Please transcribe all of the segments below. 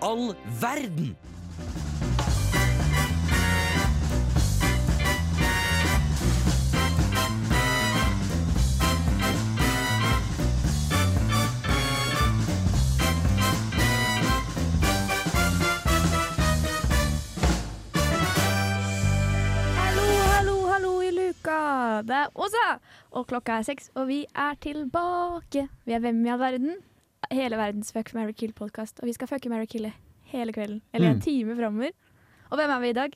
all verden? Hallo, hallo, hallo i luka! Det er Åsa! Og klokka er seks, og vi er tilbake. Vi er Hvem i all verden? Hele verdens Fuck Mary Kill-podkast. Og vi skal fucke Mary Kille hele kvelden. Eller en Mm. time framover. Og hvem er vi i dag?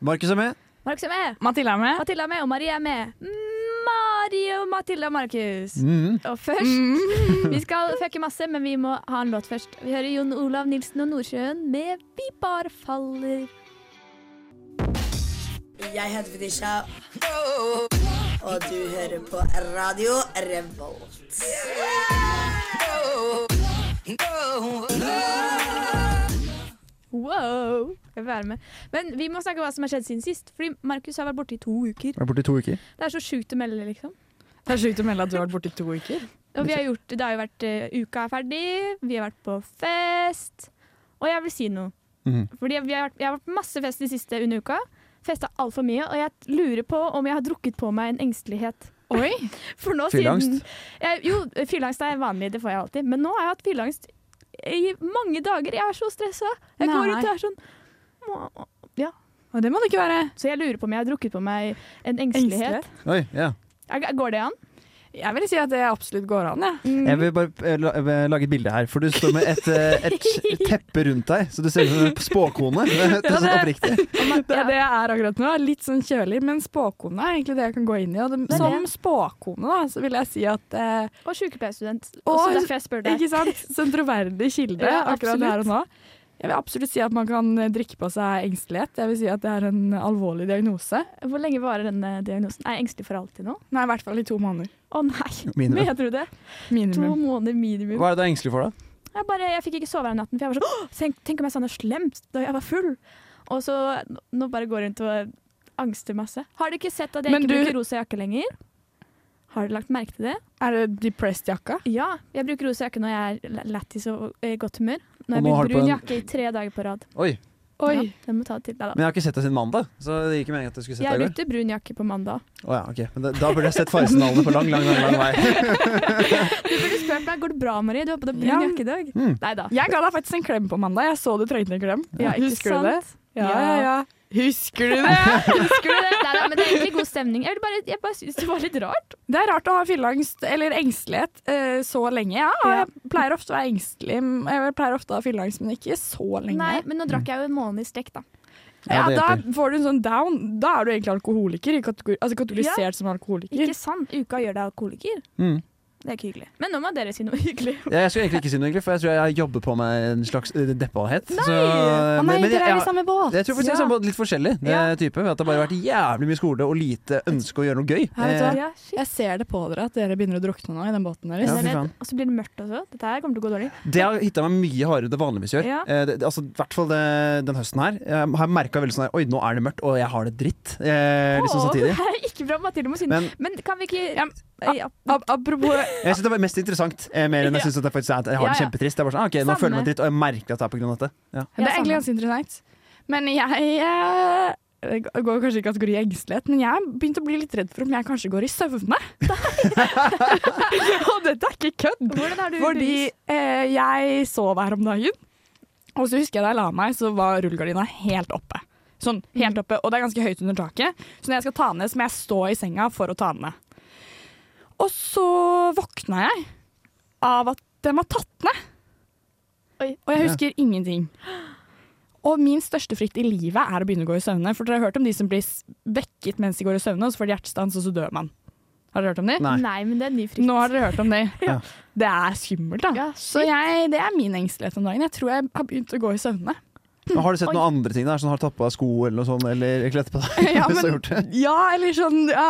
Markus er med. Markus er med! Mathilda er med. Matilda er med, og Marie er med. Mario, Matilda og Markus. Mm. Og først Vi skal fucke masse, men vi må ha en låt først. Vi hører Jon Olav Nilsen og Nordsjøen med 'Vi bare faller'. Jeg heter Fetisha, og du hører på Radio Revolt. Wow! Skal vi være med. Men vi må snakke om hva som har skjedd siden sist. Fordi Markus har vært borte i to uker. Er borte i to uker. Det er så sjukt å melde, liksom. Det er sjukt å melde at du har vært borte i to uker. Og vi har gjort, det har jo vært eh, Uka er ferdig, vi har vært på fest. Og jeg vil si noe. Mhm. Fordi vi har vært, Jeg har vært på masse fest de siste under uka. Festa altfor mye, og jeg lurer på om jeg har drukket på meg en engstelighet. Oi! For nå Fylleangst? siden- Jeg, jo, fylleangst er vanlig, det får jeg alltid. Men nå har jeg hatt fylleangst i mange dager. Jeg er så stressa. Jeg går Nei. rundt og er sånn «Må-». Og det må det ikke være. Så jeg lurer på om jeg har drukket på meg en engstelighet. Oi, ja. Er- Går det an? Jeg vil si at det absolutt går an, jeg. Jeg vil bare eh, la- jeg vil lage et bilde her, for du står med et, eh, et teppe rundt deg, så du ser ut som en spåkone. Det er Ja, sånn det- oppriktig. Det er det jeg er akkurat nå. Litt sånn kjølig, men spåkone er egentlig det jeg kan gå inn i. Og det, er som det. spåkone, da, så vil jeg si at eh, Og sykepleierstudent. Og- Også derfor jeg spør deg. Ikke sant? Sånn troverdig kilde Ja, akkurat her og nå. Jeg vil absolutt si at man kan drikke på seg engstelighet. Jeg vil si at det er en alvorlig diagnose. Hvor lenge varer denne diagnosen? Er jeg engstelig for alltid nå? Nei, i hvert fall i to måneder. Å nei, Minimum. mener du det? To Minimum. måneder minimum. Hva er det du er engstelig for, da? Jeg, bare, jeg fikk ikke sove her om natten, for jeg var sånn «Åh, tenk, tenk om jeg sa noe slemt da jeg var full. Og så nå bare går jeg rundt og angster masse. Har du ikke sett at jeg Men ikke du- bruker rosa jakke lenger? Har du lagt merke til det? Er det depressed jakka? Ja, jeg bruker rosa jakke når jeg er l- lættis og i godt humør. Nå har jeg Og nå har brukt du på brun en- jakke i tre dager på rad. Oi. Ja, den må ta det til deg, Men jeg har ikke sett deg siden mandag, så det gir ikke meningen at jeg skulle da. sett Jeg deg i går. brukte brun jakke på mandag. Å ja, ok. Men da, da burde jeg sett Faresen-navnet på lang, lang, lang, lang vei. Du burde spurt meg går det bra, Marie. Du har på deg brun Ja. jakke i dag. Mm. Nei da. Jeg ga deg faktisk en klem på mandag. Jeg så du trengte en klem. Ja, ikke Husker du det? sant? Ja, ja, ja. Husker du det? Husker du det? Nei, da, men det er egentlig god stemning. Jeg, vil bare, jeg bare syns det var litt rart. Det er rart å ha fylleangst eller engstelighet eh, så lenge. Ja, Ja. jeg pleier ofte å være engstelig. Jeg pleier ofte å ha fylleangst, men ikke så lenge. Nei, men nå drakk jeg jo en måned i strekk, da. Ja, Ja, det da hjelper. får du en sånn down. Da er du egentlig alkoholiker. i kategori- Altså kategorisert som alkoholiker. Ikke sant? Uka gjør deg alkoholiker. Mm. Det er ikke hyggelig. Men nå må dere si noe hyggelig. Ja, Jeg skulle egentlig ikke si noe, egentlig, for jeg tror jeg jobber på meg en slags eh, deppahet. Så, Å nei, Eh, men- men jeg- dere er jeg- i samme båt. Jeg tror faktisk jeg er Ja. sånn på litt forskjellig det Ja. er type. ved At det har bare vært jævlig mye skole og lite ønske å gjøre noe gøy. Ja, vet du hva? Eh, Ja, shit. Jeg ser det på dere at dere begynner å drukne nå i den båten Jeg deres. Ja, er fy redd. faen. Og så blir det mørkt også. Dette her kommer til å gå dårlig. Det har hitta meg mye hardere enn det vanligvis gjør. Ja. Eh, det, det- altså, I hvert fall det, den høsten her. Jeg har merka veldig sånn her Oi, nå er det mørkt, og jeg har det dritt. Eh, liksom Åh, det samtidig. her er ikke bra, Mathilde må si noe. Men Men kan vi ikke Ja, Eh, ja. Ap- Apropos jeg syns det var mest interessant, eh, mer enn jeg synes at det faktisk er at jeg har det Ja, ja. kjempetrist. Det er bare sånn, ah, ok, nå Samme. føler jeg meg dritt, og jeg merker at det er på grunn av dette. Ja. Det Ja, er egentlig ganske interessant. Men jeg eh, det går kanskje i kategori engstelighet, men jeg begynte å bli litt redd for om jeg kanskje går i søvne. Og dette er ikke kødd! Hvordan har du Fordi eh, jeg sov her om dagen, og så husker jeg da jeg la meg, så var rullegardina helt oppe. Sånn helt Mm. oppe, og det er ganske høyt under taket, så når jeg skal ta den ned, så må jeg stå i senga for å ta den ned. Og så våkna jeg av at den var tatt ned. Oi. Og jeg husker ingenting. Og min største frykt i livet er å begynne å gå i søvne. For dere har hørt om de som blir s- vekket mens de går i søvne, og så får de hjertestans, og så dør man. Har dere hørt om de? Nei. Nei, men det er en ny frykt. Nå har dere hørt om de. Ja. Det er skummelt, da. Ja, så jeg, det er min engstelighet om dagen. Jeg tror jeg har begynt å gå i søvne. Men har du sett Oi. noen andre ting der? Sånn, har du tatt på deg sko eller noe sånt? Eller kledd på deg? Ja, Hvis du har men, gjort det. ja eller sånn ja,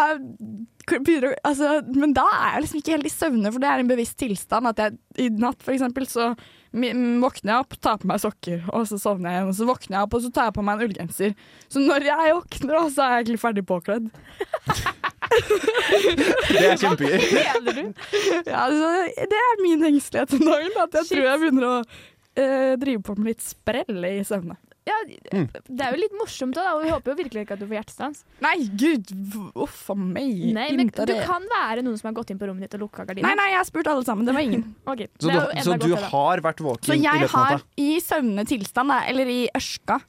begynner, å- altså, Men da er jeg liksom ikke helt i søvne, for det er en bevisst tilstand. At jeg i natt, for eksempel, så mi- m, våkner jeg opp, tar på meg sokker, og så sovner jeg igjen. Og så våkner jeg opp, og så tar jeg på meg en ullgenser. Så når jeg våkner, da, så er jeg egentlig ferdig påkledd. det er kjempegøy. Mener du? Ja, altså, det er min engstelighet om dagen, at jeg Shit. tror jeg begynner å eh, drive på med litt sprell i søvne. Ja, Mm. det er jo litt morsomt òg, og vi håper jo virkelig ikke at du får hjertestans. Nei, gud, v- uff a meg. Nei, men Inte du det. kan være noen som har gått inn på rommet ditt og lukka Nei, gardina. nei, jeg har spurt alle sammen. Det var ingen. Ok, det Så er jo du, enda så godt du det da. har vært våken Så i jeg løpet av har natta? i søvnende tilstand, da, eller i ørska,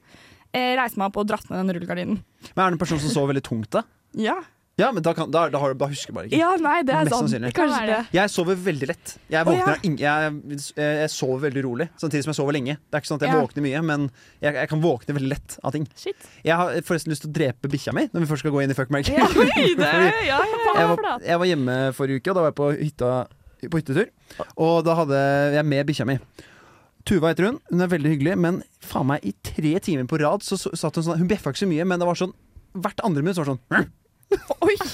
eh, reist meg opp og dratt ned den rullegardinen. Men er det en person som sover veldig tungt, da? Ja. Ja, men da, kan, da, da, har, du- da husker du bare ikke. ja, nei, det er Mest sant. sannsynlig. Kanskje det. Jeg sover veldig lett. Jeg, Å, ja. våkner, av ing- jeg, eh, jeg sover veldig rolig, samtidig som jeg sover lenge. Det er ikke sånn at jeg Ja. våkner mye, men jeg, jeg kan våkne veldig lett av ting. Shit. Jeg har forresten lyst til å drepe bikkja mi når vi først skal gå inn i fuck Mary Kill. Ja, Oi, det er- ja, ja, jeg, ja. var, jeg var hjemme forrige uke, og da var jeg på, hytta, på hyttetur. Og da hadde jeg med bikkja mi. Tuva heter hun. Hun er veldig hyggelig, men faen meg, i tre timer på rad så, så satt hun sånn Hun bjeffa ikke så mye, men det var sånn hvert andre minutt så var det sånn Oi.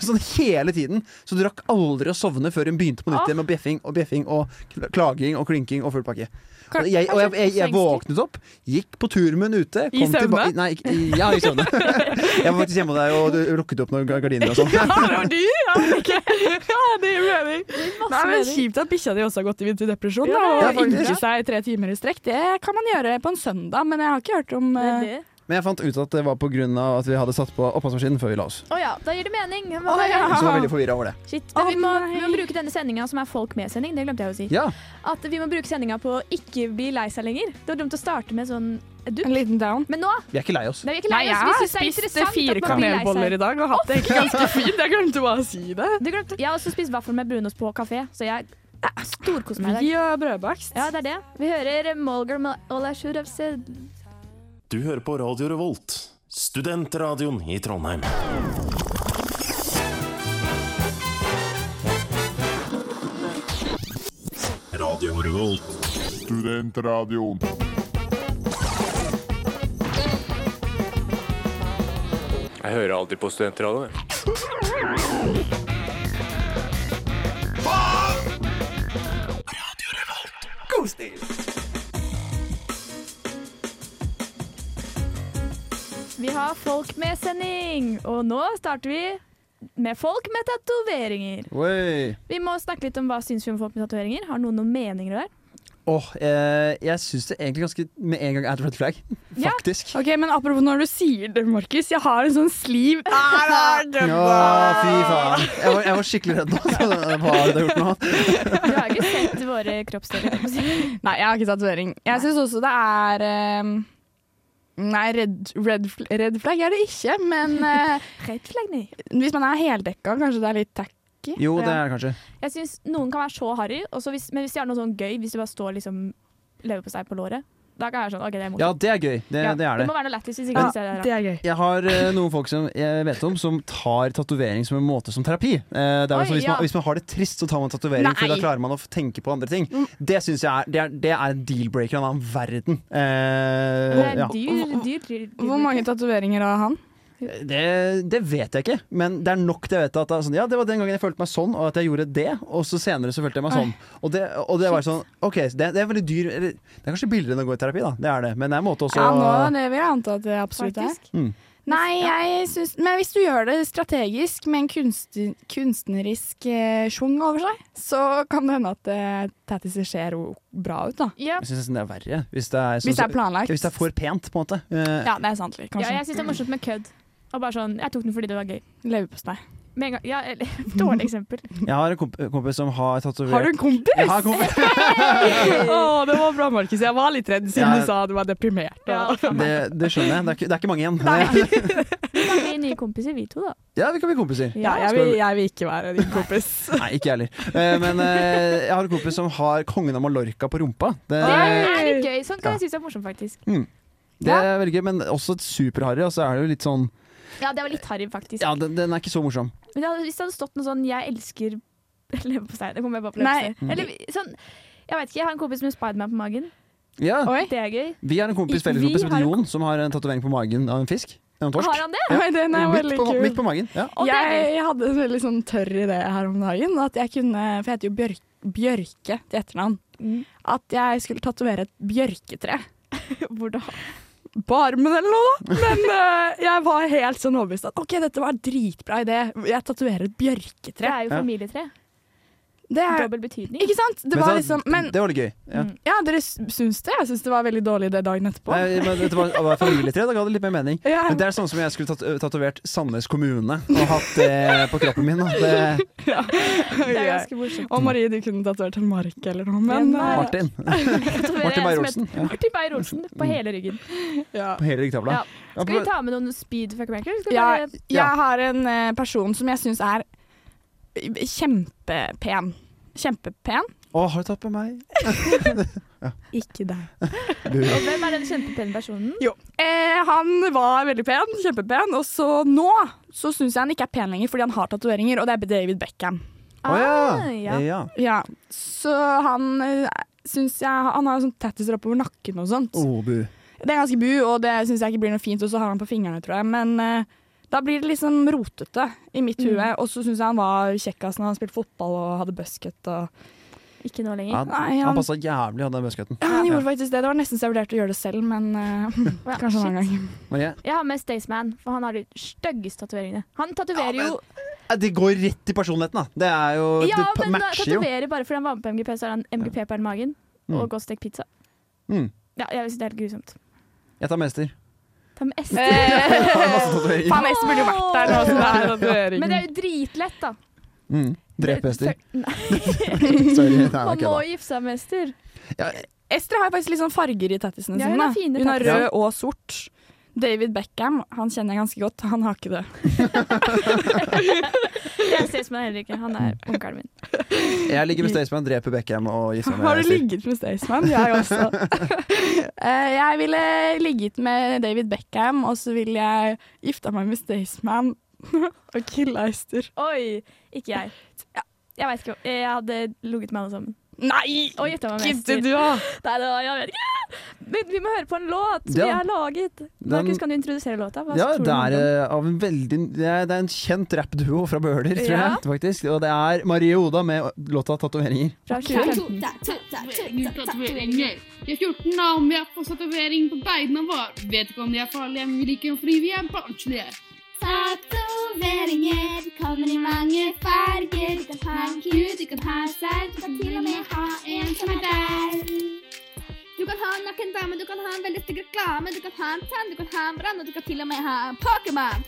Sånn hele tiden. Så du rakk aldri å sovne før hun begynte på Ah. nytt igjen med bjeffing og bjeffing og kl- klaging og klinking og full pakke. Og jeg, og jeg, jeg, jeg våknet opp, gikk på tur med henne ute Altså, I kom søvne? tilba- Nei, ikke- i- ja, i søvne. jeg var faktisk hjemme hos deg og du lukket opp noen gardiner og sånn. Ja, det var du, ja. ok. ja det gir mening. Nei, Masse men mening. Kjipt at bikkja di også har gått ut i depresjon. Ja, da, det er og faktisk- ynke seg i tre timer i strekk. Det kan man gjøre på en søndag, men jeg har ikke hørt om Det er eh, det. Men jeg fant ut at det var pga. at vi hadde satt på oppvaskmaskinen før vi la oss. Å ja, da gir det mening. Men Å bare- ja. Så jeg var veldig forvirra over det. Shit. Men Å vi, må, vi må nei. bruke denne sendinga, som er Folk med-sending, det glemte jeg å si. Ja, At vi må bruke sendinga på å ikke bli lei seg lenger. Det var dumt å starte med sånn dupp. en liten down. Men nå Vi er ikke lei oss. Nei, vi er ikke lei jeg oss. Vi har synes det er spist eh, interessant fire at man blir lei seg. kanelboller i dag og hatt det egentlig ganske fint. Jeg glemte bare å si det. Du glemte. Jeg har også spist vaffel med brunost på kafé, så jeg storkoser meg i dag. Vi og brødbakst. Ja, det er det. Vi hører Molgar med All I Should Have Said. Du hører på Radio Revolt, studentradioen i Trondheim. Radio Revolt. Studentradioen. Jeg hører aldri på studentradioen. jeg. Vi har Folk med sending, og nå starter vi med folk med tatoveringer. Oi. Vi må snakke litt om hva syns vi om folk med tatoveringer. Har noen noen meninger der? Åh, eh, jeg syns det egentlig ganske med en gang er et red flag. Ja. Faktisk. Ok, Men apropos når du sier det, Markus. Jeg har en sånn sliv. Ah! Ja, fy faen. Jeg var, jeg var skikkelig redd nå. så Hva har du gjort nå? Du har ikke sett våre kroppsdeler. må jeg si. Nei, jeg har ikke tatovering. Jeg syns også det er ehm, Nei, red, red, fl- red flag er det ikke, men eh, Red flag, nei. hvis man er heldekka, kanskje det er litt tacky. Jo, det er det kanskje. Jeg syns noen kan være så harry, og så hvis, men hvis de har noe sånn gøy, hvis de bare står liksom leverpostei på låret, da kan jeg være sånn OK, det er morsomt. Ja, det er gøy. Det, det er det. må være noe lættis hvis ikke Ja, du ser det. her. det er gøy. Jeg har eh, noen folk som jeg vet om Som tar tatovering som en måte som terapi. Eh, det er Oi, vel sånn, hvis, ja. man, hvis man har det trist, så tar man tatovering, for Nei. da klarer man å f- tenke på andre ting. Mm. Det synes jeg er, det er, det er en deal-breaker av en annen verden. Eh, Det er ja. dyr, dyr, dyr, dyr. Hvor mange tatoveringer har han? det, det vet jeg ikke, men det er nok til jeg vet at det, er sånn, ja, det var den gangen jeg følte meg sånn, og at jeg gjorde det, og så senere så følte jeg meg sånn. Og det, og det var sånn OK, så det, det er veldig dyr eller, Det er kanskje billigere enn å gå i terapi, da. Det er det, men det er en måte også Ja, nå er det vil jeg anta at det absolutt er. faktisk? Nei, jeg syns Men hvis du gjør det strategisk med en kunsti- kunstnerisk eh, sjung over seg, så kan det hende at eh, tattiser ser o- bra ut, da. Ja, Jeg syns nesten det er verre. Hvis det er, sånn, Hvis det er planlagt. hvis det er for pent, på en måte. Eh, Ja, det er sant. litt, ja, Kanskje. jeg syns det er morsomt med kødd. Og bare sånn Jeg tok den fordi det var gøy. Leverpostei. Med en gang, ja, eller, dårlig eksempel. Jeg har en komp kompis som har tatovert Har du en kompis? Jeg har en kompis. Å, det var bra, Markus. Jeg var litt redd siden Ja. du sa du var deprimert. Ja, Og... Det, det skjønner jeg. Det er ikke, det er ikke mange igjen. Det, Vi kan bli nye kompiser, vi to, da. ja, vi kan bli kompiser. Ja, jeg vil, jeg vil ikke være din kompis. Nei, ikke jeg heller. Eh, Men eh, jeg har en kompis som har kongen av Mallorca på rumpa. Det, Det Oi. er litt gøy. Sånn kan Ja. jeg synes er morsomt, faktisk. det er veldig gøy, men også superharry. Og så er det jo litt sånn Ja, det var litt harry, faktisk. Ja, den, den er ikke så morsom. Men det hadde, hvis det hadde stått noe sånn 'jeg elsker leverpostei', det kommer jeg bare på Nei. leverpostei. Eller sånn Jeg vet ikke, jeg har en kompis med Spiderman på magen. Ja. Oi. Det er gøy. Vi har en kompis Vi felleskompis som har heter en- Jon, som har en tatovering på magen av en fisk. En Har torsk. han det? Oi, den er Midt veldig på, kul. midt på magen. Ja. Å, det er gøy. Jeg hadde en veldig sånn tørr idé her om dagen. At jeg kunne, For jeg heter jo Bjørk, Bjørke til etternavn. Mm. At jeg skulle tatovere et bjørketre Hvor da? på armen eller noe. da. Men eh, jeg var helt sånn overbevist at OK, dette var en dritbra idé. Jeg tatoverer et Det bjørketre. er jo Ja. familietre. Det er Dobbel betydning. Ikke sant? Det Men var så- liksom Men Det var litt gøy. Ja. Mm. ja, dere s- syns det. Jeg syns det var veldig dårlig det dagen etterpå. Nei, men det var, det var familietre, da ga det litt mer mening. Ja. Eh, Men det er sånn som jeg skulle tat tatovert Sandnes kommune og hatt det på kroppen min. da. Det, Det er ganske morsomt. Og Marie, du kunne tatovert en mark eller noe, men eh, Ja, nei. Martin. Tatoverer Martin jeg som Beyer-Olsen. heter Ja. Martin Beyer-Olsen på hele ryggen. ja. På hele ryggtavla. Ja. Ja, Skal vi ta med noen speed fuck America? Skal vi Jeg, bare- jeg har en eh, person som jeg syns er kjempepen. Kjempepen? Å, har du tatt på meg? Ikke deg. Du. Og hvem er den kjempepene personen? Eh, han var veldig pen, kjempepen, og så nå så syns jeg han ikke er pen lenger fordi han har tatoveringer, og det er David Beckham. Å Ah, ja. ja. ja. Ja, Så han eh, syns jeg Han har sånn tattiser oppover nakken og sånt. Å, bu. Det er ganske bu, og det syns jeg ikke blir noe fint, og så har han på fingrene, tror jeg. Men eh, da blir det liksom rotete i mitt Mm. hue. Og så syns jeg han var kjekkas når han spilte fotball og hadde busket og Ikke nå lenger. Han, Nei, han- han passa jævlig, han der bøsketten. ja, Han gjorde faktisk det. Det var nesten så jeg vurderte å gjøre det selv, men eh, Ja, kanskje en annen shit. gang. Marie, Jeg har med Staysman, for han har de styggeste tatoveringene. Han tatoverer jo eh, det går rett i personligheten, da. Det er jo Ja, Det men matcher jo. tatoverer bare fordi han var med på MGP, så har han MGP på den magen. Mm. Og godt stekt pizza. Mm. Ja, jeg synes det er helt grusomt. Jeg tar mester. Ta med S. Jeg har masse tatoveringer. Eh, Faen, Ester burde jo vært der nå som det er Men det er tatovering. jo dritlett, da. Mm. Drep hester. Nei, Sorry. Nei, man ok, må da. gifte seg med hester. Estrid har jo faktisk litt sånn farger i tattisene Ja, sine. hun har da. fine hun har tattiser. rød og sort. David Beckham, han kjenner jeg ganske godt. Han har ikke det. Jeg ser som han heller ikke. Han er Mm. onkelen min. Jeg ligger med Staysman, dreper Beckham og gifter meg Har med du Esther. ligget med Staysman? Jeg også. Eh, jeg ville ligget med David Beckham, og så ville jeg gifta meg med Staysman og killa Ester. Oi, ikke jeg. Ja, jeg vet ikke. Jeg hadde ligget med alle sammen. Nei! Og gifta meg med Gidde Ester. du òg? Nei, det var, jeg vet ikke. Men vi må høre på en låt som Ja. jeg har laget. Markus, kan du introdusere låta? Hva Ja, tror du det den er, handler om? eh, av en veldig, det er, det er en kjent rappduo fra Bøhler, tror Ja. jeg. faktisk Og det er Marie Oda med låta 'Tatoveringer'. Fra 2015. Nye tatoveringer. Vi har 14 navn, vi har fått tatovering på beina våre. Vet ikke om de er farlige, men vi liker dem fordi vi er barnslige. Tatoveringer kommer i mange farger. Du kan ha en kul, du kan ha en sær, du kan til og med ha en som er der. Du kan ha en naken dame, du kan ha en veldig stygg reklame, du kan ha en tann, du kan ha en brann, og du kan til og med ha en Pokémon.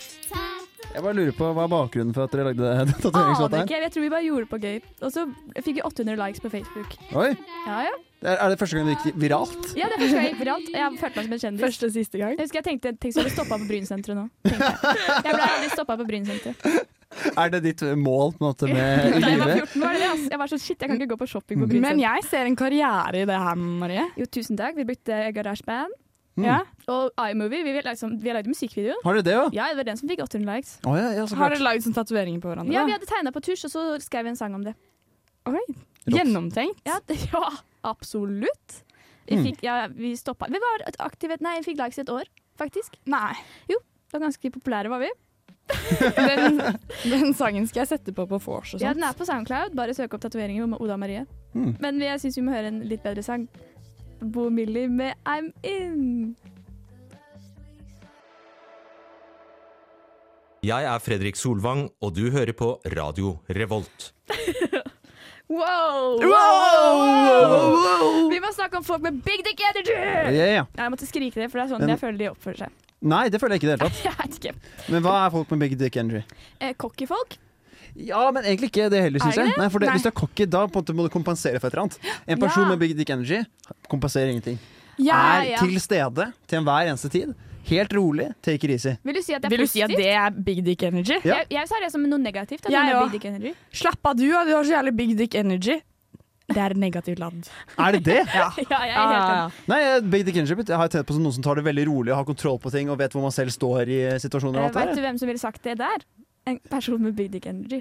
Jeg bare lurer på, Hva er bakgrunnen for at dere lagde den Aner tatoveringslåta? ikke. Jeg tror vi bare gjorde det på gøy. Og så fikk vi 800 likes på Facebook. Oi, Ja, ja. det er, er det første gang det gikk viralt? ja det er første gang jeg gikk viralt. og Jeg følte meg som en kjendis. Første og siste gang. Jeg husker jeg tenkte tenk så jeg ble stoppa på Brynsenteret nå. Tenkte Jeg Jeg ble aldri stoppa på Brynsenteret. Er det ditt mål på en måte med i Da jeg var livet? 14 år, det, Mm. altså. jeg var sånn shit, jeg kan ikke gå på shopping på Men Brynsenteret. jeg ser en karriere i det her, Marie. Jo, tusen takk. Vi brukte GarageBand Mm, Ja. og iMovie. Vi, har liksom, vi har lagd musikkvideo. Har dere det òg? Ja, det var den som fikk 800 likes. Å ja, ja, så Har klart. dere lagd sånne tatoveringer på hverandre? Ja, vi hadde tegna på tusj, og så skrev vi en sang om det. Rått. Gjennomtenkt. Ja, det, ja absolutt. Vi, fikk, ja, vi stoppa Vi var et aktive Nei, vi fikk likes i et år, faktisk. Nei. Da ganske populære var vi. Den, den sangen skal jeg sette på på vors og sånn. Ja, sånt. den er på Soundcloud. Bare søk opp tatoveringer med Oda Marie. Mm. Men jeg syns vi må høre en litt bedre sang. Bo Millie med I'm In. Jeg er Fredrik Solvang, og du hører på Radio Revolt. Wow! Wow! Vi må snakke om folk med big dick energy! Ja, ja. Jeg måtte skrike det, for det er sånn Men- jeg føler de oppfører seg. Nei, det føler jeg ikke i det hele tatt. Jeg vet ikke. Men hva er folk med big dick energy? Eh, cocky folk? Ja, men egentlig ikke det heller, syns Er det jeg. Nei, for det, Nei. Hvis du er cocky, da på en måte må du kompensere for et eller annet. En person Ja. med big dick energy kompenserer ingenting. Ja, er ja. til stede til enhver eneste tid. Helt rolig, take it easy. Vil du si at det er Vil du si at positivt? det er big dick energy? Ja. Jeg, jeg sa det som noe negativt. At Jeg noen har også. big dick energy. Slapp av du, da. du har så jævlig big dick energy. Det er negativt ladd. Er det det? Ja, jeg er Ja, helt ja, enig. ja. Nei, big dick energy jeg har tenkt på som noen som tar det veldig rolig og har kontroll på ting og vet hvor man selv står i situasjoner. og Eh, alt det Vet du der. hvem som ville sagt det der? En person med big dick energy.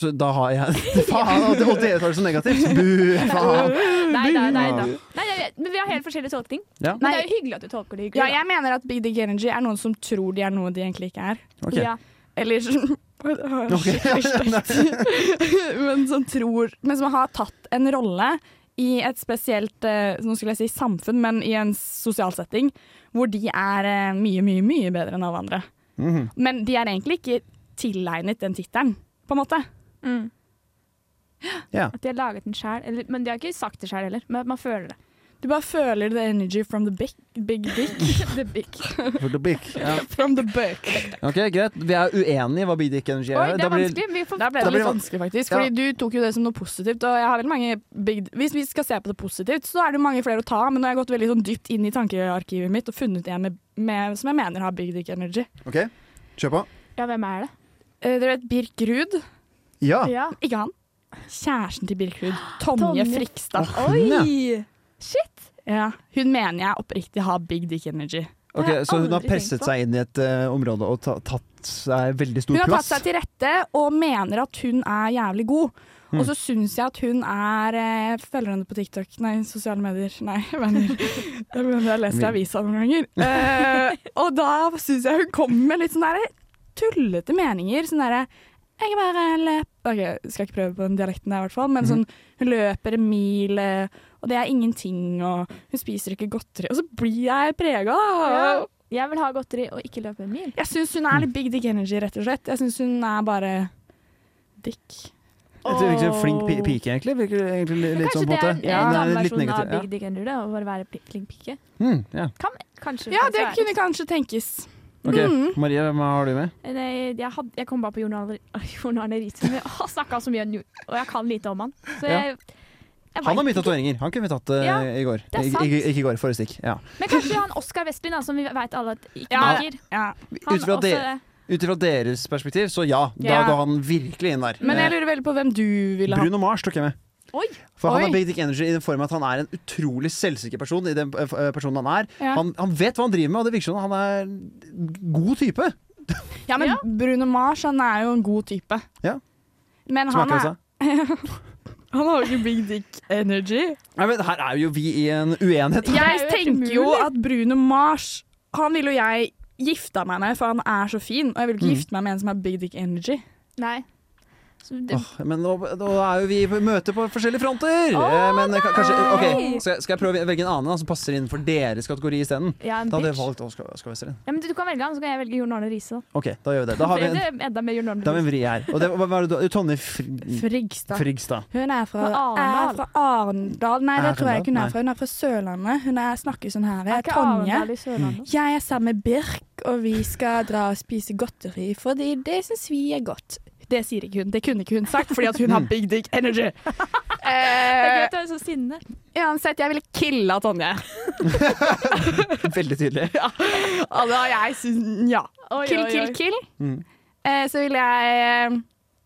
Så da har jeg Faen, og dere tar det så negativt! Bu, faen. Nei da, nei da. Nei, nei, men vi har helt forskjellig tolkning. Ja. Men det er jo hyggelig at du tolker det hyggelig. Ja, da. jeg mener at big dick energy er noen som tror de er noe de egentlig ikke er. Ok. Ja. Eller sånn, skikkelig stygt. men som tror Men som har tatt en rolle i et spesielt eh, Nå skulle jeg si samfunn, men i en sosial setting hvor de er eh, mye, mye, mye bedre enn alle andre. Mhm. Men de er egentlig ikke tilegnet den tittelen, på en måte. Mm. Ja. At de har laget den sjæl. Men de har ikke sagt det sjæl heller, men at man føler det. Du bare føler the energy from the big, big dick. The big. For the big. Ja. from the buck. Ok, greit. Vi er uenige i hva Bidik Energy Oi, er. det Da er blir- vanskelig. Vi får Der ble Da blir det litt det- vanskelig, faktisk. Ja. Fordi du tok jo det som noe positivt. Og jeg har veldig mange big, Hvis vi skal se på det positivt, så er det mange flere å ta. Men nå har jeg gått veldig sånn dypt inn i tankearkivet mitt og funnet en med, med, som jeg mener har big dick energy. Ok, kjør på. Ja, hvem er det? Eh, dere vet Birk Ruud? Ja. Ja. Ikke han. Kjæresten til Birk Ruud. Tonje, Tonje. Frikstad. Hun, ja. Shit! Ja. Hun mener jeg oppriktig har big dick energy. Ok, Det har jeg Så hun har aldri tenkt presset på. seg inn i et eh, område og ta, tatt seg veldig stor Hun har tatt plass? seg til rette og mener at hun er jævlig god. Mm. Og så syns jeg at hun er eh, Følger henne på TikTok? Nei, sosiale medier. Nei, venner. Det er fordi Jeg har lest i avisa noen ganger. Eh, og da syns jeg hun kommer med litt sånn derre tullete meninger. Sånn derre Jeg bare løp OK, skal ikke prøve på den dialekten der, i hvert fall. Men Mhm. sånn Hun løper en mil, eh, og det er ingenting, og hun spiser ikke godteri. Og så blir jeg prega, da. Ja. Jeg vil ha godteri og ikke løpe en mil. Jeg syns hun er litt big dick energy, rett og slett. Jeg syns hun er bare dick. Det virker som en flink pi- pike, egentlig. Virker egentlig li- litt Kanskje sånn på det er en en måte. eh, Ja, det er litt dameversjon av negativ, ja. Big Dick Energy, da, å bare være pli- flink pike. Mm, ja. Kan, kanskje. Ja, kanskje det være. kunne kanskje tenkes. Ok, Marie, hva har du med? Nei, Mm. jeg, hadde, jeg kom bare på Jon Arne, Jon Arne Riise, men jeg har snakka så mye om Jon, og jeg kan lite om han. Så Ja. jeg, jeg Han vet har mye ikke. tatoveringer. Han kunne vi tatt eh, Ja, i går. det er I- sant. Ikke, ikke i går, forrige stikk. Ja. Men kanskje han Oskar Vestlund, da, som vi veit alle at ikke Ja. liker. Ja. Han Ut fra også, de- ut ifra deres perspektiv, så ja. Da Ja. går han virkelig inn der. Men jeg Eh, lurer veldig på hvem du ville ha. Bruno Mars tok jeg med. Oi. For han Oi. har big dick energy i den form at han er en utrolig selvsikker person. I den eh, f- eh, personen Han er Ja. han, han vet hva han driver med, og det virker som han er en god type. Ja, men Bruno Mars han er jo en god type. Ja. Men Som han, akkurat er, sa. han har jo ikke big dick energy. Nei, men her er jo vi i en uenighet. er Jeg jo helt tenker jo umulig. at Bruno Mars Han ville jo jeg gifta meg med, for han er så fin. Og jeg vil ikke Mm. gifte meg med en som har big dick energy. Nei. Så det, Åh, men nå, nå er jo vi på møte på forskjellige fronter! Eh, men ka- kanskje, ok, skal, jeg- skal jeg prøve å velge en annen da, som passer innenfor deres kategori isteden? ja, en Da hadde jeg bitch. valgt Oskar Oskar Westerlin. Ja, men du, du kan velge han, så kan jeg velge Jon Arne Riise. da. Ok, da gjør vi det. Da har vi Ble en, det enda mer Jon da har Arne vi en Riise. vri her. Og det, hva, hva er det du Tonje Fr- Frigstad. Frigstad. Hun er fra Fra Arendal. Arendal. Er fra Arendal. Nei, det tror jeg ikke hun Nei. er fra. Hun er fra Sørlandet. Hun er, snakker sånn her. Er Jeg er ikke Tonje. Arendal i Mm. Sørlandet? Jeg er sammen med Birk, og vi skal dra og spise godteri, fordi det syns vi er godt. Det sier ikke hun. Det kunne ikke hun sagt, fordi at hun har big dick energy. Det er gøy Eh, at du er så sinne. uansett, jeg ville killa Tonje. Veldig tydelig. Altså, jeg syns Ja. Oi, Kill, oi, kill, oi. kill. Mm. Eh, så ville jeg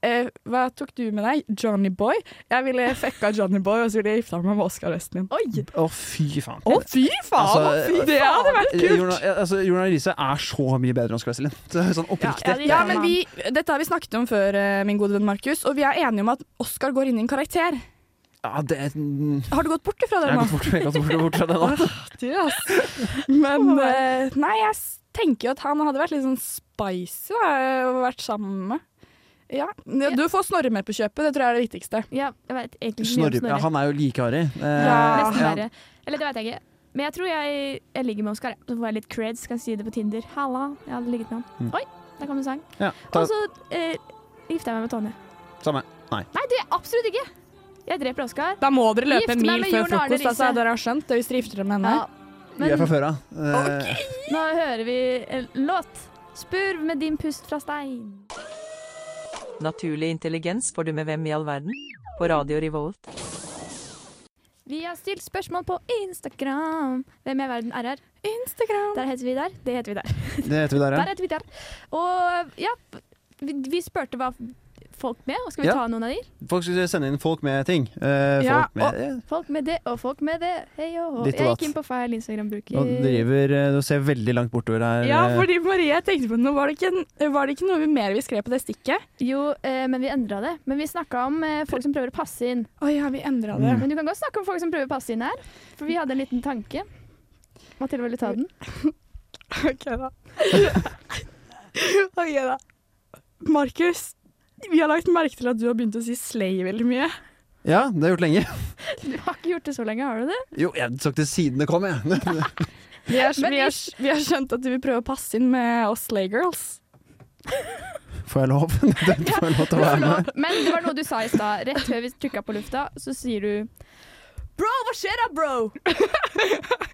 eh, Hva tok du med deg? Johnny Boy? Jeg ville fucka Johnny Boy, og så ville jeg gifta meg med Oskar Westlin. Oi! Å, fy faen. Å, fy faen! Altså, fy, eh, det hadde vært kult! Jordan- Altså, Jordan Riise er så mye bedre enn Oskar Westerlin. Det er Sånn oppriktig. Ja, de- Ja, men vi, Dette har vi snakket om før, eh, min gode venn Markus, og vi er enige om at Oskar går inn i en karakter. Ja, det mm, Har du gått bort ifra det Jeg har nå? gått bort, jeg har gått bort, bort fra det nå. Fattig, ass. Men eh, nei, jeg s- tenker jo at han hadde vært litt sånn spicy da, å vært sammen med. Ja. Du får Snorre med på kjøpet, det tror jeg er det viktigste. Ja, jeg vet egentlig ikke mye om Snorre, ja, Snorre. han er jo like harry. Eh, Ja. Nesten verre. Eller det vet jeg ikke. Men jeg tror jeg, jeg ligger med Oskar. Så får jeg litt creds, kan si det på Tinder. Halla, jeg hadde ligget med han. Mm. Oi, der kom det en sang. Ja, ta, Og så eh, gifter jeg meg med Tonje. samme. Nei, det gjør jeg absolutt ikke! Jeg dreper Oskar. Da må dere løpe Gifte en meg mil med før Jon Arne frokost, altså. Riise. Dere har skjønt det hvis dere gifter dere med henne. Ja. Vi er fra Men før av. Eh, nå hører vi en låt. Spurv med din pust fra stein. Naturlig intelligens får du med hvem i all verden? På Radio Revolt. Vi har stilt spørsmål på Instagram. Hvem i verden er her? Instagram. Der heter vi der. Det heter vi der. Det heter vi der, Der ja. heter vi der. Og ja, vi, vi spurte hva folk med, og skal vi Ja. ta noen av de? Folk skulle sende inn folk med ting. Eh, Ja, folk med, eh, Folk med det og folk med det. Hei og hå. Ditt og Jeg datt. gikk inn på feil Instagram-bruker. Nå driver eh, Du ser veldig langt bortover her. Ja, eh. fordi Marie, jeg tenkte på noe. Var det ikke, var det ikke noe mer vi skrev på det stikket? Jo, eh, men vi endra det. Men vi snakka om eh, folk som prøver å passe inn. Å ja, vi endra det. Men du kan godt snakke om folk som prøver å passe inn her. For vi hadde en liten tanke. Mathilde, vil du ta den? Ok, da. ok, da. Markus, vi har lagt merke til at du har begynt å si slay veldig mye. ja, det har jeg gjort lenge. Du har ikke gjort det så lenge, har du det? Jo, jeg så ikke siden det kom, jeg. Vi har, Men vi, har, vi har skjønt at du vil prøve å passe inn med oss slay girls. Får jeg lov? Dette får jeg lov til å være med. Men det var noe du sa i stad, rett før vi trykka på lufta, så sier du Bro, hva skjer da, bro?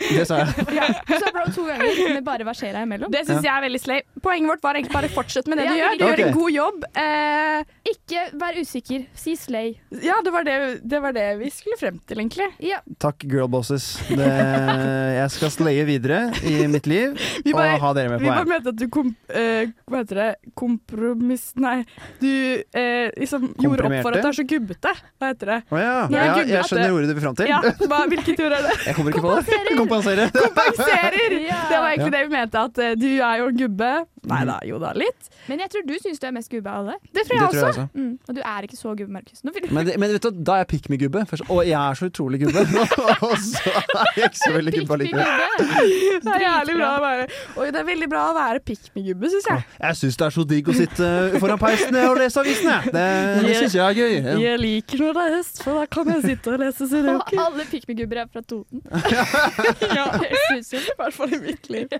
Det sa jeg. Ja, du sa bro to ganger, men bare hva skjer da imellom? Det syns jeg er veldig slay. Poenget vårt var egentlig bare fortsett med det Ja, du gjør. ok. Du gjør en god jobb. Eh, Ikke vær usikker, si slay. ja, det var det, det var det vi skulle frem til, egentlig. Ja, Takk, girlbosses. Det, jeg skal slaye videre i mitt liv Vi og bare- ha dere med Vi på bare veien. mente at du kom, eh, Hva heter det? Kompromiss... Nei, du eh, liksom gjorde opp for at du er så gubbete. Hva heter det? Å ja. Nei, ja, gud, jeg at skjønner det- ordet du vil fram til. Ja, hva, hvilket ord er det? Jeg kommer ikke på det. Kompensere. Kompenserer! Ja. Det var egentlig det vi mente, at eh, du er jo en gubbe. Nei da, jo da, litt. Men jeg tror du syns du er mest gubbe av alle. Det Det tror jeg tror jeg også. også. Mm. Og du er ikke så gubbe, Markus. Nå vil du Men, det, men vet du, da er jeg pikk med gubbe. Først, og jeg er så utrolig gubbe. og så er jeg ikke så veldig gubbe Riktig allikevel. gubbe. Det er jævlig bra å være Oi, det er veldig bra å være pikk med gubbe, syns jeg. Jeg syns det er så digg å sitte eh, foran peisen og lese avisen, jeg. Det, det syns jeg er gøy. Jeg liker når det er høst, for da kan jeg sitte og lese Og sudoku. alle pikmigubber er fra Toten. Ja, Det synes jeg. I hvert fall i mitt liv.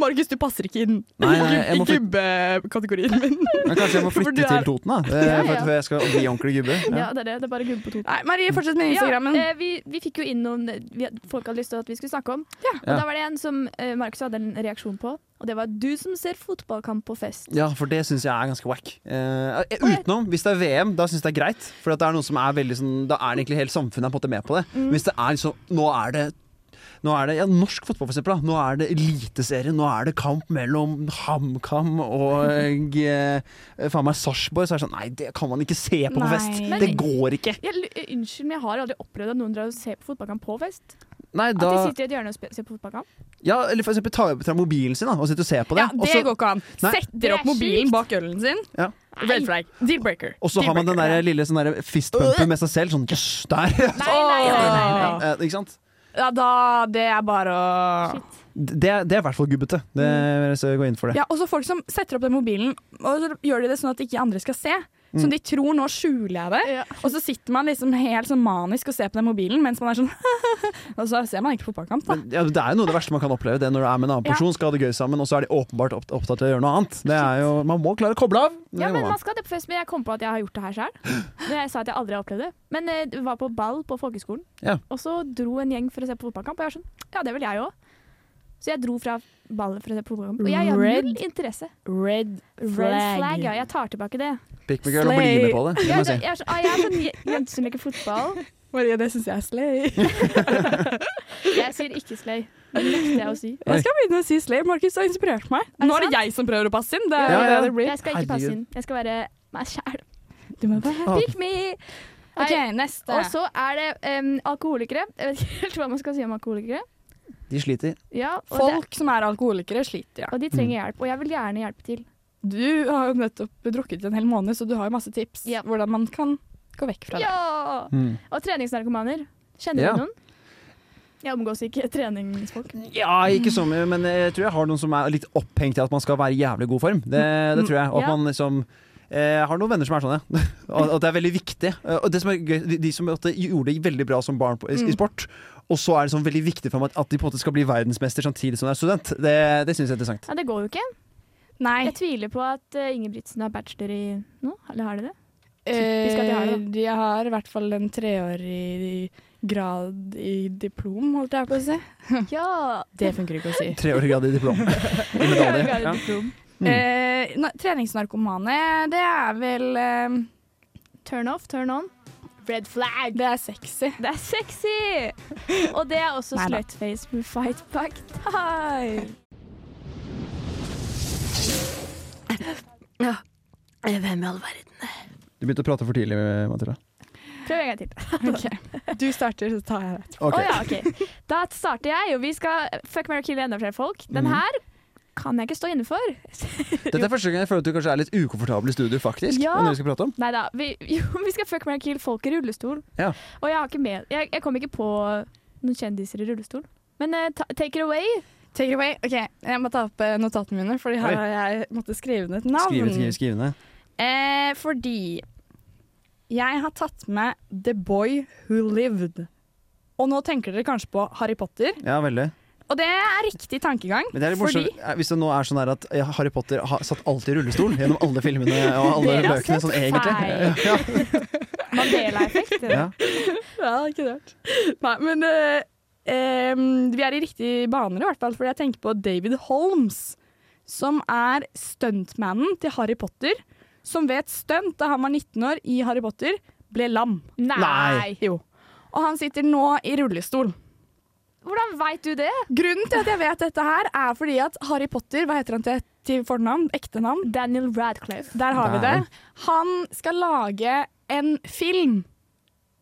Markus, du passer ikke inn Nei, nei, jeg i må flytte- gubbekategorien min. Men kanskje jeg må For du flytte er- til Toten, da. Det, Ja, ja. for at jeg skal bli ordentlig gubbe. Ja, det er det. Det er bare gubbe på Toten. Nei, Marie, fortsett med Instagrammen. Ja, eh, vi, vi fikk jo inn noen vi, folk hadde lyst til at vi skulle snakke om. Og Ja. da var det en som eh, Markus hadde en reaksjon på, og det var 'du som ser fotballkamp på fest'. Ja, for det syns jeg er ganske wack. Eh, utenom, hvis det er VM, da syns jeg det er greit. For at det er noen som er veldig sånn Da er det egentlig hele samfunnet er på en måte med på det. Men Hvis det er liksom Nå er det nå er det, ja, Norsk fotball, for eksempel. Da. Nå er det eliteserie. Nå er det kamp mellom HamKam og eh, faen meg Sarpsborg. Så er det sånn Nei, det kan man ikke se på på Nei. fest! Men- Det går ikke! Jeg, l- eh, unnskyld, men jeg har aldri opplevd at noen drar og ser på fotballkamp på fest. Nei, At da de sitter i et hjørne og spe- ser på fotballkamp. Ja, eller for eksempel ta ta mobilen sin da, og sitte og se på det. Ja, Og så- det går ikke an. Nei. Det Setter er opp mobilen sykt. bak ølen sin. Ja. Red flag. Deal-breaker. Og så har man den der Deal-breaker. lille sånn der fistpumpen med seg selv. Sånn jøss, der! Nei, nei, nei, nei, nei. Åh. Eh, ikke sant? Ja, da Det er bare å Shit. Det, det er i hvert fall gubbete. Det vil jeg gå inn for det. Ja, og så folk som setter opp den mobilen, og så gjør de det sånn at ikke andre skal se. Mm. Som de tror nå skjuler jeg det. Ja. Og så sitter man liksom helt sånn manisk og ser på den mobilen mens man er sånn Og så ser man ikke fotballkamp, da. Men, ja, det er jo noe av det verste man kan oppleve. Det er når du er med en annen Ja. person, skal ha det gøy sammen, og så er de åpenbart opp- opptatt av å gjøre noe annet. Det er jo, man må klare å koble av. Det Ja, må men man. man skal ha det på fest, men jeg kom på at jeg har gjort det her sjøl. Jeg sa at jeg aldri har opplevd det. Men eh, det var på ball på folkehøgskolen, Ja. og så dro en gjeng for å se på fotballkamp. Og jeg var sånn, ja, det vil jeg òg. Så jeg dro fra ballet for å se på fotballkamp. Og jeg har Red null interesse. Red Red flag, ja. Jeg tar tilbake det. Pick me girl og bli med på det. det Jeg, må jeg, jeg si. er så- ah, jeg er sånn je- jente som liker fotball. Marie, det syns jeg er slay. Jeg sier ikke slay. Det nekter jeg å si. Jeg skal begynne å si slay. Markus har inspirert meg. det Nå er det sant? jeg som prøver å passe inn. Det er Ja, jo ja. det det blir. Jeg skal ikke passe Herregud. inn. Jeg skal være meg sjæl. Du må bare Ah. Pick me! OK, Nei, neste. Og så er det em, alkoholikere. Jeg vet ikke helt hva man skal si om alkoholikere. De sliter. Ja, og det- Folk som er alkoholikere, sliter, ja. Og de trenger hjelp, og jeg vil gjerne hjelpe til. Du har jo nettopp drukket en hel måned, så du har jo masse tips Ja. hvordan man kan gå vekk fra det. Ja! Mm. Og treningsnarkomaner. Kjenner Ja. du noen? Jeg omgås ikke treningsfolk. Ja, ikke så mye, men jeg tror jeg har noen som er litt opphengt i at man skal være i jævlig god form. Det, det tror jeg. Og at Ja. man liksom eh, har noen venner som er sånn, ja. Og at det er veldig viktig. Eh, Og det som er gøy, de, de som at de gjorde det veldig bra som barn på, i, i sport, og så er det sånn veldig viktig for meg at, at de på en måte skal bli verdensmester samtidig som de er student, det, det syns jeg er interessant. Ja, det går jo ikke. Nei. Jeg tviler på at eh, Ingebrigtsen har bachelor i noe. Eller har de det? Typisk at de har det. Eh, De har i hvert fall en treårig grad i diplom, holdt jeg på å si. Ja! Det funker ikke å si. Treårig grad i diplom. I medalje. Ja. Mm. Eh, na- treningsnarkomane, det er vel eh, Turn off, turn on. Red flag. Det er sexy. Det er sexy! Og det er også Neida. slutface med fight back time. Hvem i all verden? Du begynte å prate for tidlig, Matilda. Prøv en gang til. Å Du starter, så tar jeg det. Ok. ja, OK. Da starter jeg, og vi skal fuck, marry, kill enda flere folk. Den Mhm. her kan jeg ikke stå inne for. Dette er første gang jeg føler at du kanskje er litt ukomfortabel i studio, faktisk. Ja. enn det vi skal prate om. Nei da. Vi, jo, vi skal fuck, marry, kill folk i rullestol. Ja. Og jeg, har ikke med, jeg, jeg kom ikke på noen kjendiser i rullestol. Men eh, ta, take it away. Take it away. Ok, Jeg må ta opp eh, notatene mine, Fordi Oi. her har jeg måtte skrive ned et navn. Skrive, skrive, skrive ned. Eh, fordi jeg har tatt med The Boy Who Lived. Og nå tenker dere kanskje på Harry Potter. Ja, veldig. Og det er riktig tankegang. Men det er litt fordi morsomt eh, hvis det nå er sånn her at eh, Harry Potter har satt alltid i rullestol gjennom alle filmene og alle Dere har bøkene. Sånn sett egentlig. Ja. Mandela-effekt. er det? Ja. ja, ikke rart. Nei, men eh, em, vi er i riktig baner, i hvert fall, fordi jeg tenker på David Holmes, som er stuntmannen til Harry Potter, som ved et stunt da han var 19 år i Harry Potter, ble lam. Nei. Jo. Og han sitter nå i rullestol. Hvordan veit du det? Grunnen til at jeg vet dette her, er fordi at Harry Potter, hva heter han til, til fornavn? Ekte navn? Daniel Radcliffe. Der har vi det. Han skal lage en film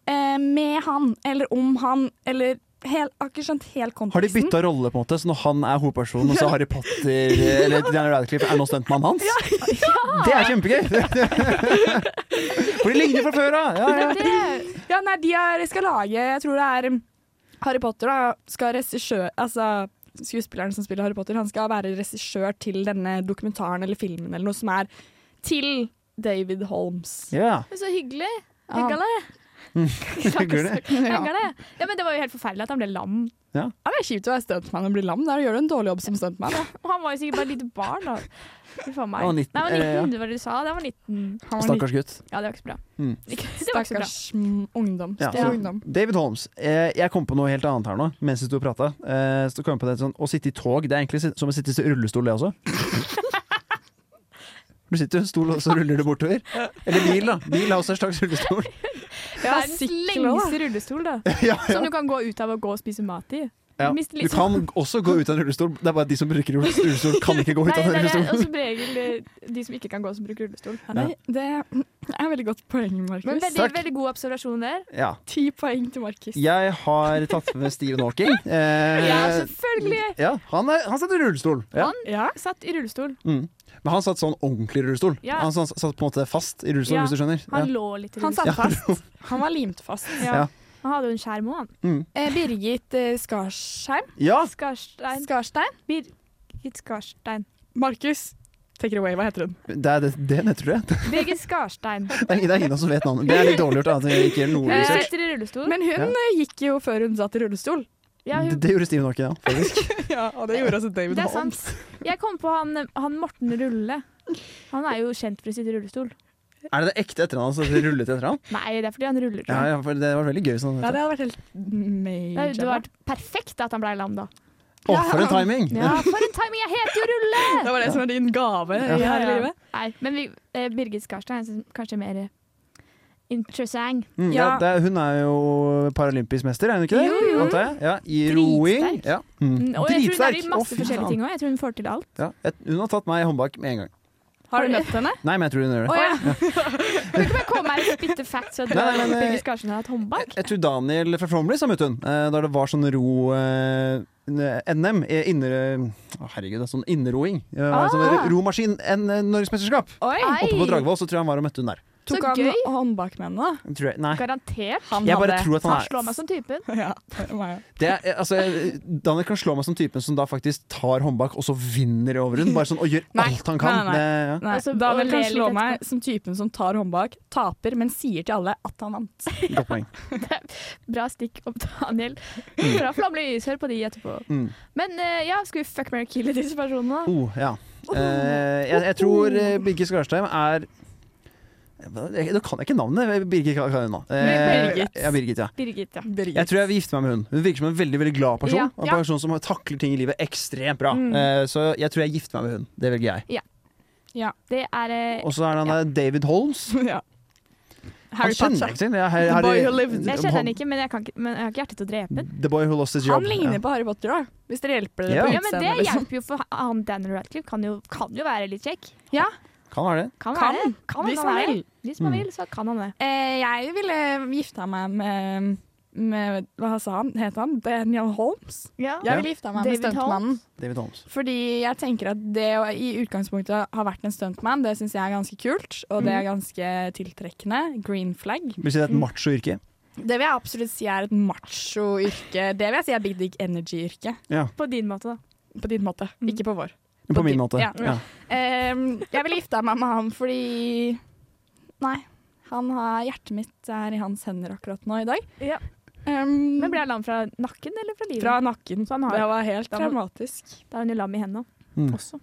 eh, med han, eller om han, eller hel, Jeg har ikke skjønt helt konteksten. Har de bytta rolle, på en måte? Så når han er hovedpersonen, og så Harry Potter eh, eller Daniel Radcliffe er nå stuntmannen hans? Det er kjempegøy! For de ligner fra før av! Ja, ja. Ja, nei, de er, skal lage Jeg tror det er um, Harry Potter, da. Skal regissør Altså skuespilleren som spiller Harry Potter, han skal være regissør til denne dokumentaren eller filmen eller noe som er til David Holmes. Ja. Så hyggelig. Ja. Hygga det. Mm. Hygger det. Hygga det. Ja, men det var jo helt forferdelig at han ble lam. Ja, det er kjipt å være stuntmann og bli lam. Da gjør du en dårlig jobb som stuntmann. da. Og han var jo sikkert bare et lite barn. da. Fy faen meg. Han var 19, Nei, han var 19, eh, ja. det var det du sa. Det var 19. Han var Stakkars gutt. Ja, det var ikke så bra. Mm. Ikke, Mm. det var ikke så bra. Stakkars mm, ungdom. Ja, Stille så- ungdom. David Holmes, eh, jeg kom på noe helt annet her nå mens du sto og prata. Eh, så kom jeg på det, sånn, å sitte i tog, det er egentlig si- som å sitte i rullestol, det også. Du sitter i en stol, og så ruller du bortover. Eller bil, da. Bil er også en slags rullestol. Verdens sykkel også, lengste rullestol, da. Ja, ja. Som du kan gå ut av og gå og spise mat i. Ja. Du mister Du litt- sånn- kan også gå ut av en rullestol, det er bare de som bruker rullestol, kan ikke gå ut Nei, altså- av det en er rullestol. også som regel eh, de som ikke kan gå, som bruker rullestol. Ja, det, det er veldig godt poeng, Men Markus. veldig, veldig god observasjon der. Ja. Ti poeng til Markus. Jeg har tatt med Stephen Hawking. Eh, Ja, selvfølgelig! ja, han, er, han sitter i rullestol. Ja. Ja. Satt i rullestol. Mm. Men han satt sånn ordentlig i rullestol. Ja. Han satt, satt på en måte fast i rullestol, Ja. hvis du skjønner. Han lå litt i Han rullestol. satt fast. Han var limt fast. Ja. Ja. Han hadde jo en skjerm òg, han. Eh, Birgit eh, Skarsheim. Ja, Skarstein. Skarstein. Birgit Skarstein. Markus. Take it away, hva heter hun? det er det, det jeg tror jeg. Birgit Skarstein. Det er, det er ingen som vet navnet. Det er litt dårlig gjort. da, at jeg ikke gjør noe Hun research. sitter i rullestol. Men hun Ja. eh, gikk jo før hun satt i rullestol. ja, Det, hun, det gjorde Steven Hawking, ja. Faktisk. Ja, og det gjorde altså David det er sant. Jeg kom på han, han Morten Rulle. Han er jo kjent for å sitte i rullestol. Er det det ekte etternavnet som rullet etter han? Nei, det er fordi han ruller. Ja, tror jeg. ja, for det var veldig gøy. Sånn, Ja, det hadde vært helt Det hadde major. jo da. vært perfekt at han ble lam, da. Å, for en timing! Ja, for en timing! Jeg heter jo Rulle! Det var det som var din gave Ja, i ja. her i livet. Nei, men vi, eh, Birgit Skarstein er sånn- kanskje mer eh, interessant. Mm, ja, Ja. det er, hun er jo paralympisk mester, er hun ikke det? Jo, jo. Antar jeg. Ja, I Dritsterk. roing. Ja. Mm. Mm, Og jeg tror hun er i Dritsterk. Å, masse fy forskjellige faen. ting òg. Jeg tror hun får til alt. Ja, et, hun har tatt meg i håndbak med en gang. Har du møtt henne? Nei, men jeg tror hun gjør det. Å ja! Kan ikke bare komme her og spytte facts og dra Nei, nei, at men, eh, Birgit Skarstein har hatt håndbak? Jeg tror Daniel fra Flåmlys har møtt hun eh, da det var sånn ro eh, NM. eh, Inner, å, herregud, det er sånn innerroing. Eh, Ah. sånn romaskin en, eh, Norgesmesterskap. Oi! Nei. Oppe på Dragvoll så tror jeg han var og møtte hun der. Så Tok han gøy. håndbak med henne, da? Tror jeg. Nei. Garantert. Han Jeg bare tror at Han han slår meg er som typen. Ja, det var meg. det er, eh, altså, jeg- Daniel kan slå meg som typen som da faktisk tar håndbak og så vinner over hun. Bare sånn og gjør Nei. alt han kan. Nei, nei, Det, Nei, Og så- og Daniel kan le litt slå etterpå. meg som typen som tar håndbak, taper, men sier til alle at han vant. ja, godt poeng. Bra stikk opp Daniel Mm. fra Flammelys. Hør på de etterpå. Mm. Men eh, ja, skal vi fuck, marry, kill i disse personene? Oh, ja. Eh, jeg, jeg tror eh, Birgit Skarstein er jeg, Nå kan jeg ikke navnet. Birgit kan jeg nå. Eh, Birgit. Ja, Birgit, ja. Birgit, ja. Jeg tror jeg vil gifte meg med hun. Hun virker som en veldig veldig glad person. Ja. Og en Ja. person som takler ting i livet ekstremt bra. Eh, så jeg tror jeg gifter meg med hun. Det velger jeg. Det er eh, Og så er det han der David Holmes. Ja. Harry Han kjenner Potter. jeg ikke til. Jeg- Harry- The boy who Harry- lived. Jeg kjenner han ikke, men jeg, kan ikke, men jeg har ikke hjerte til å drepe den. The boy who lost his job. Han ligner på Harry Potter, da. Hvis dere hjelper dere Ja. på Ja, men Det utseendet. liksom. hjelper jo, for han Daniel Radcliffe kan jo, kan jo være litt kjekk. Ja. Kan være det. Kan, Kan, være det. Kan hvis han han være det. vil. Hvis man Mm. vil, så kan han det. Eh, jeg ville gifta meg med, med Hva sa han? Het han Daniel Holmes? Ja. Jeg ville gifta meg med David stuntmannen. David Holmes. Fordi jeg tenker at det å i utgangspunktet ha vært en stuntman, det syns jeg er ganske kult. Og det er Mm. ganske tiltrekkende. Green flag. Vil si det er et macho yrke. Det vil jeg absolutt si er et macho yrke. Det vil jeg si er big dick energy-yrke. På din måte, da. På din måte, ikke på vår. På min måte. Ja. Ja. Ehm, jeg ville gifta meg med han fordi Nei. Han har, hjertet mitt er i hans hender akkurat nå i dag. Ehm, Ja. Men ble han lam fra nakken eller fra livet? Mm. Fra nakken. han har- Det var helt Så han- traumatisk. Da er han jo lam i hendene Mm. også.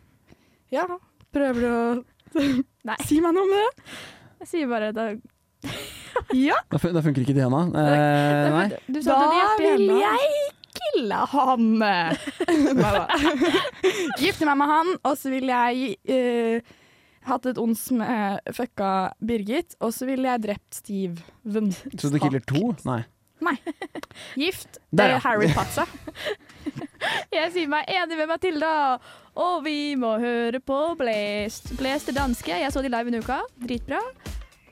Ja, prøver du å Nei. si meg noe om det? Jeg sier bare da Ja. Da, fun da funker ikke det, Hanna. Eh, nei. Du sa Da at du hadde hjerte i vil hendene. jeg kille han. Neida. Gifte meg med han, og så vil jeg eh, hatt et ons med eh, fucka Birgit, og så vil jeg drept Steven. Så du killer to? Nei. Gift Der, eh, ja. Harry Potter. Jeg sier meg enig med Matilda. Og vi må høre på Blest. Blest er danske. Jeg så de live en uke. Dritbra.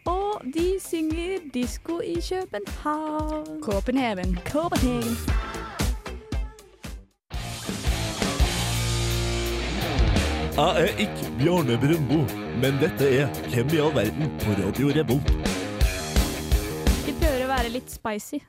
Og de synger disko i København. Copenhagen. Copenhagen. Jeg er ikke Bjarne Brumbo, men dette er Hvem i all verden på Radio Revolt. Vi prøver å være litt spicy.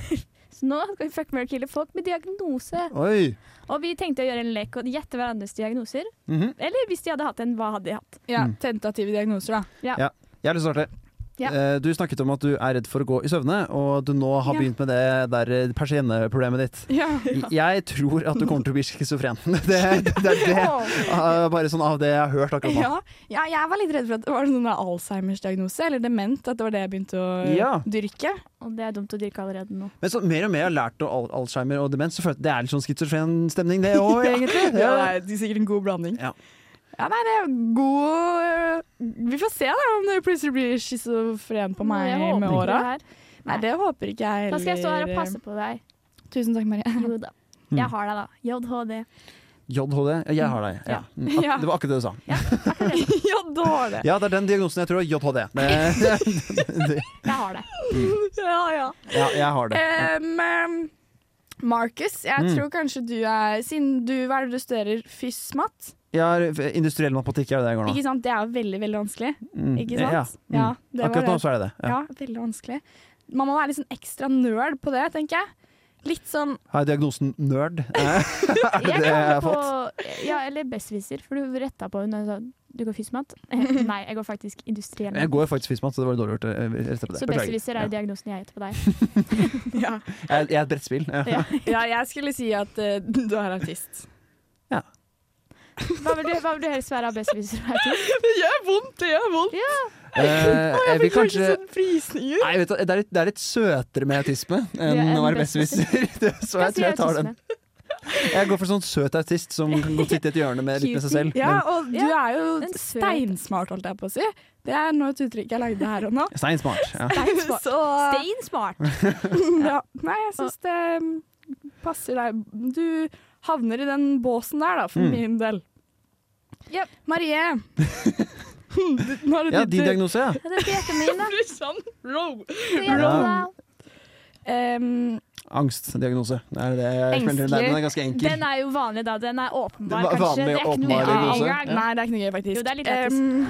Så nå skal vi fuck, marry, kille folk med diagnose. Oi! Og vi tenkte å gjøre en lek og gjette hverandres diagnoser. Mhm. Eller hvis de hadde hatt en, hva hadde de hatt? Ja, Mm. tentative diagnoser, da. Ja. Jeg har lyst til å starte. Ja. Eh, Du snakket om at du er redd for å gå i søvne, og at du nå har Ja. begynt med det der eh, persienneproblemet ditt. Ja. Jeg tror at du kommer til å bli schizofren. Det, det er det. Eh, Bare sånn av det jeg har hørt akkurat nå. Ja, ja, jeg var litt redd for at det var sånn der Alzheimers diagnose, eller dement, at det var det jeg begynte å Ja. dyrke. Og det er dumt å dyrke allerede nå. Men så mer og mer har jeg lært om al Alzheimer og demens, så føler jeg at det er litt sånn schizofren stemning, det òg, egentlig. Ja, det er sikkert en god blanding. Ja. Ja, nei, det er god Vi får se da om det plutselig blir schizofren på meg Jeg håper med ikke åra. det her. Nei, det håper ikke jeg heller. Da skal jeg stå her og passe på deg. Tusen takk, Marie. Jo da. Mm. Jeg har deg, da. JHD. JHD. Jeg har deg. Ja. Mm, ak- Ja. Det var akkurat det du sa. ja, da var det. Ja, det er den diagnosen jeg tror er JHD. Det, det, Jeg har deg. Ja, ja. ja, jeg har det. Em, em, Markus, Ehm, jeg Mm. tror kanskje du er Siden du hva er det du studerer fysmat, Jeg har industriell matematikk, er det det jeg går nå? ikke sant? det er jo veldig veldig vanskelig. Mm, Ikke sant? Ja. Mm. Ja, det var Akkurat det. nå så er det det. Ja, Ja. veldig vanskelig. Man må være litt sånn ekstra nerd på det, tenker jeg. Litt sånn Har jeg diagnosen nerd? Eh, er det Jeg det jeg kaller har på eh, fått? Ja, eller besserwisser, for du retta på henne og sa du går fysmat. Nei, jeg går faktisk industriell. Jeg går faktisk fysmat, så det var dårlig gjort. eh, rett etter det. Så Beklager. besserwisser er Ja. diagnosen jeg heter på deg. Ja, Jeg, jeg er et brettspill. Ja. Ja. ja jeg skulle si at eh, du er autist. Hva vil du, hva vil du helst være av besserwisser og autist? Det gjør vondt, det gjør vondt. Ja. Eh, jeg vil kanskje sånn frysninger. Nei, vet du, det er, litt, det er litt søtere med autisme enn enn å være besserwisser. Det- Så jeg tror jeg tar den. Jeg går for sånn søt autist som kan godt sitte i et hjørne med litt med seg selv. Ja, Men, og du Ja, er jo en søt- steinsmart, holdt jeg på å si. Det er nå et uttrykk jeg lagde her og nå. Stein smart. Ja. Steinsmart. Så Stein smart. ja. Nei, jeg syns det mm, passer deg. Du havner i den båsen der, da, for Mm. min del. Yep. Marie. Du- Nå er det ja, ditt din tur. diagnose, ja. Det er dieten min, da. Susanne Roe. Det er Ja. det. Em, Angstdiagnose. Det er det jeg Engstelig. smelter den der, men den er ganske enkel. Den er jo vanlig, da. Den er åpenbar, Det var kanskje. vanlig Det er ikke noe åpenbar diagnose. annet. ja, nei, det er ikke noe gøy, faktisk. Jo, det er litt Em,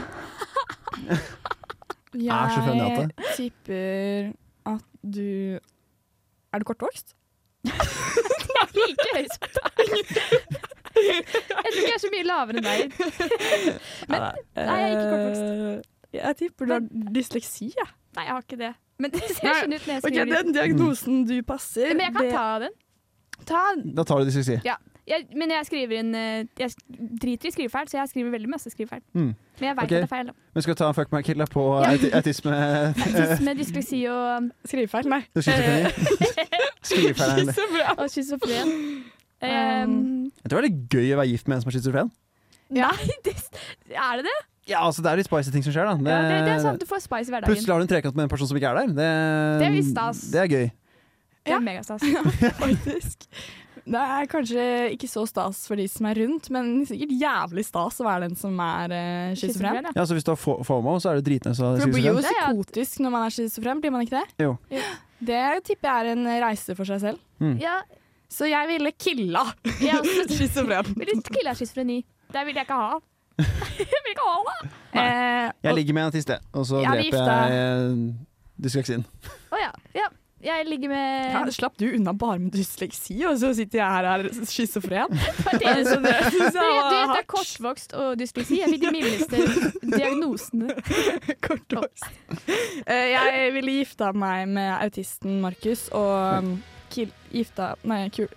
Er så funny at det. Jeg tipper at du Er du kortvokst? Like høy som deg. Jeg tror ikke jeg er så mye lavere enn deg. Nei, jeg er ikke kortvokst. Eh, Jeg tipper du har dysleksi. Ja. Nei, jeg har ikke det. Men det ser Nei, sånn ut når jeg Ok, skriver. Den diagnosen du passer Men jeg kan ta den. ta Da tar du dysleksi. Jeg, men jeg skriver inn eh, Jeg sk- driter i skrivefeil, så jeg skriver veldig masse skrivefeil. Mm. Men jeg veit Ok. at det er feil. da. Men skal vi ta en fuck my kill da, på auti- autisme Autisme, dysleksi og, Skrivefeil, nei. Du skizofreni? Skrivefeil. er det. Så bra. og schizofren. Um, Jeg tror det er litt gøy å være gift med en som er schizofren. Ja. Nei, det, er det det? Ja, altså det er litt spicy ting som skjer, da. Ja, det, det er sant, du får spice i hverdagen. Plutselig har du en trekant med en person som ikke er der. Det, Det er litt stas. Det er gøy. Det Ja. er megastas. Faktisk. Det er kanskje ikke så stas for de som er rundt, men sikkert jævlig stas å være den som er eh, schizofren. Schizofren, ja. Ja, så hvis du har fo- FOMO, så er du dritnøs av For det blir jo schizofren. Ja, ja. psykotisk når man er schizofren, blir man ikke det? Jo. Jo. Det tipper jeg er en reise for seg selv. Ja, Så jeg ville killa jeg også schizofren. vil ikke kille schizofreni. Det vil jeg ikke ha. jeg vil ikke ha det! Eh, Jeg ligger med en autist, jeg, og så Ja, vi dreper jeg eh, dysleksien. Å ja. ja. Jeg ligger med Ja, slapp du unna bare med dysleksi, og så sitter jeg her og er schizofren? Altså, det, synes jeg du, var du vet det hardt. er kortvokst og dysleksi. Jeg fikk de mildeste diagnosene. Eh, Jeg ville gifta meg med autisten Markus og um, kil, gifta Nei, ku,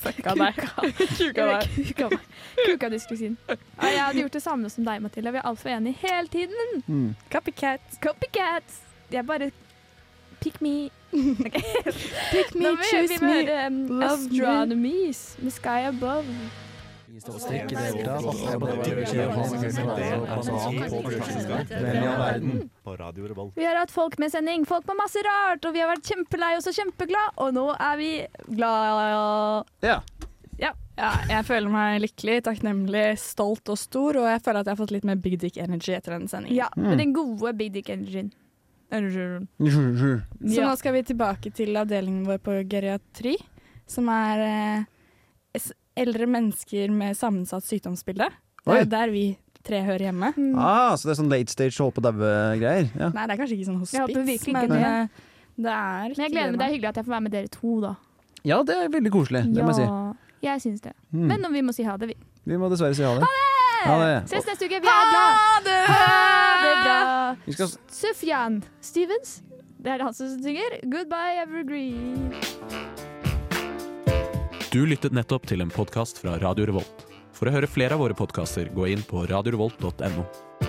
fucka deg. Kuka Kuka, deg. kuka, meg. kuka dysleksien. Ja, jeg hadde gjort det samme som deg, Mathilde. Vi er altfor enige hele tiden. Mm. Copycat. Copycat. Jeg bare Pick me. Pick me, choose Vi må me, høre um, love me. Astronomies med Sky Above. På Radio Revolt. Vi har hatt folk med sending. Folk med masse rart, og vi har vært kjempelei oss og kjempeglad, og nå er vi glad. Ja. Ja. Ja, jeg føler meg lykkelig, takknemlig, stolt og stor, og jeg føler at jeg har fått litt mer big dick energy etter denne sendingen. Ja, med den gode Big Dick Engine. Engine. Mm. Så Ja. nå skal vi tilbake til avdelingen vår på geriatri, som er eh, s- eldre mennesker med sammensatt sykdomsbilde. Det Oi. er jo der vi tre hører hjemme. Ah, så det er sånn late stage holde på daue-greier? Ja. Nei, det er kanskje ikke sånn Jeg håper hospits, virkelig ikke men det. eh, det er Men jeg gleder meg. Det er hyggelig at jeg får være med dere to, da. ja, det er veldig koselig. Det må jeg si. Ja, jeg syns det. Mm. Men nå, vi må si ha det, vi. Vi må dessverre si ha det. Ha det! Ses neste uke. Vi er glad. Ha det! bra. Vi skal s- Sufjan Stevens. Det er han som synger 'Goodbye Evergreen'. Du lyttet nettopp til en podkast fra Radio Revolt. For å høre flere av våre podkaster, gå inn på radiorevolt.no.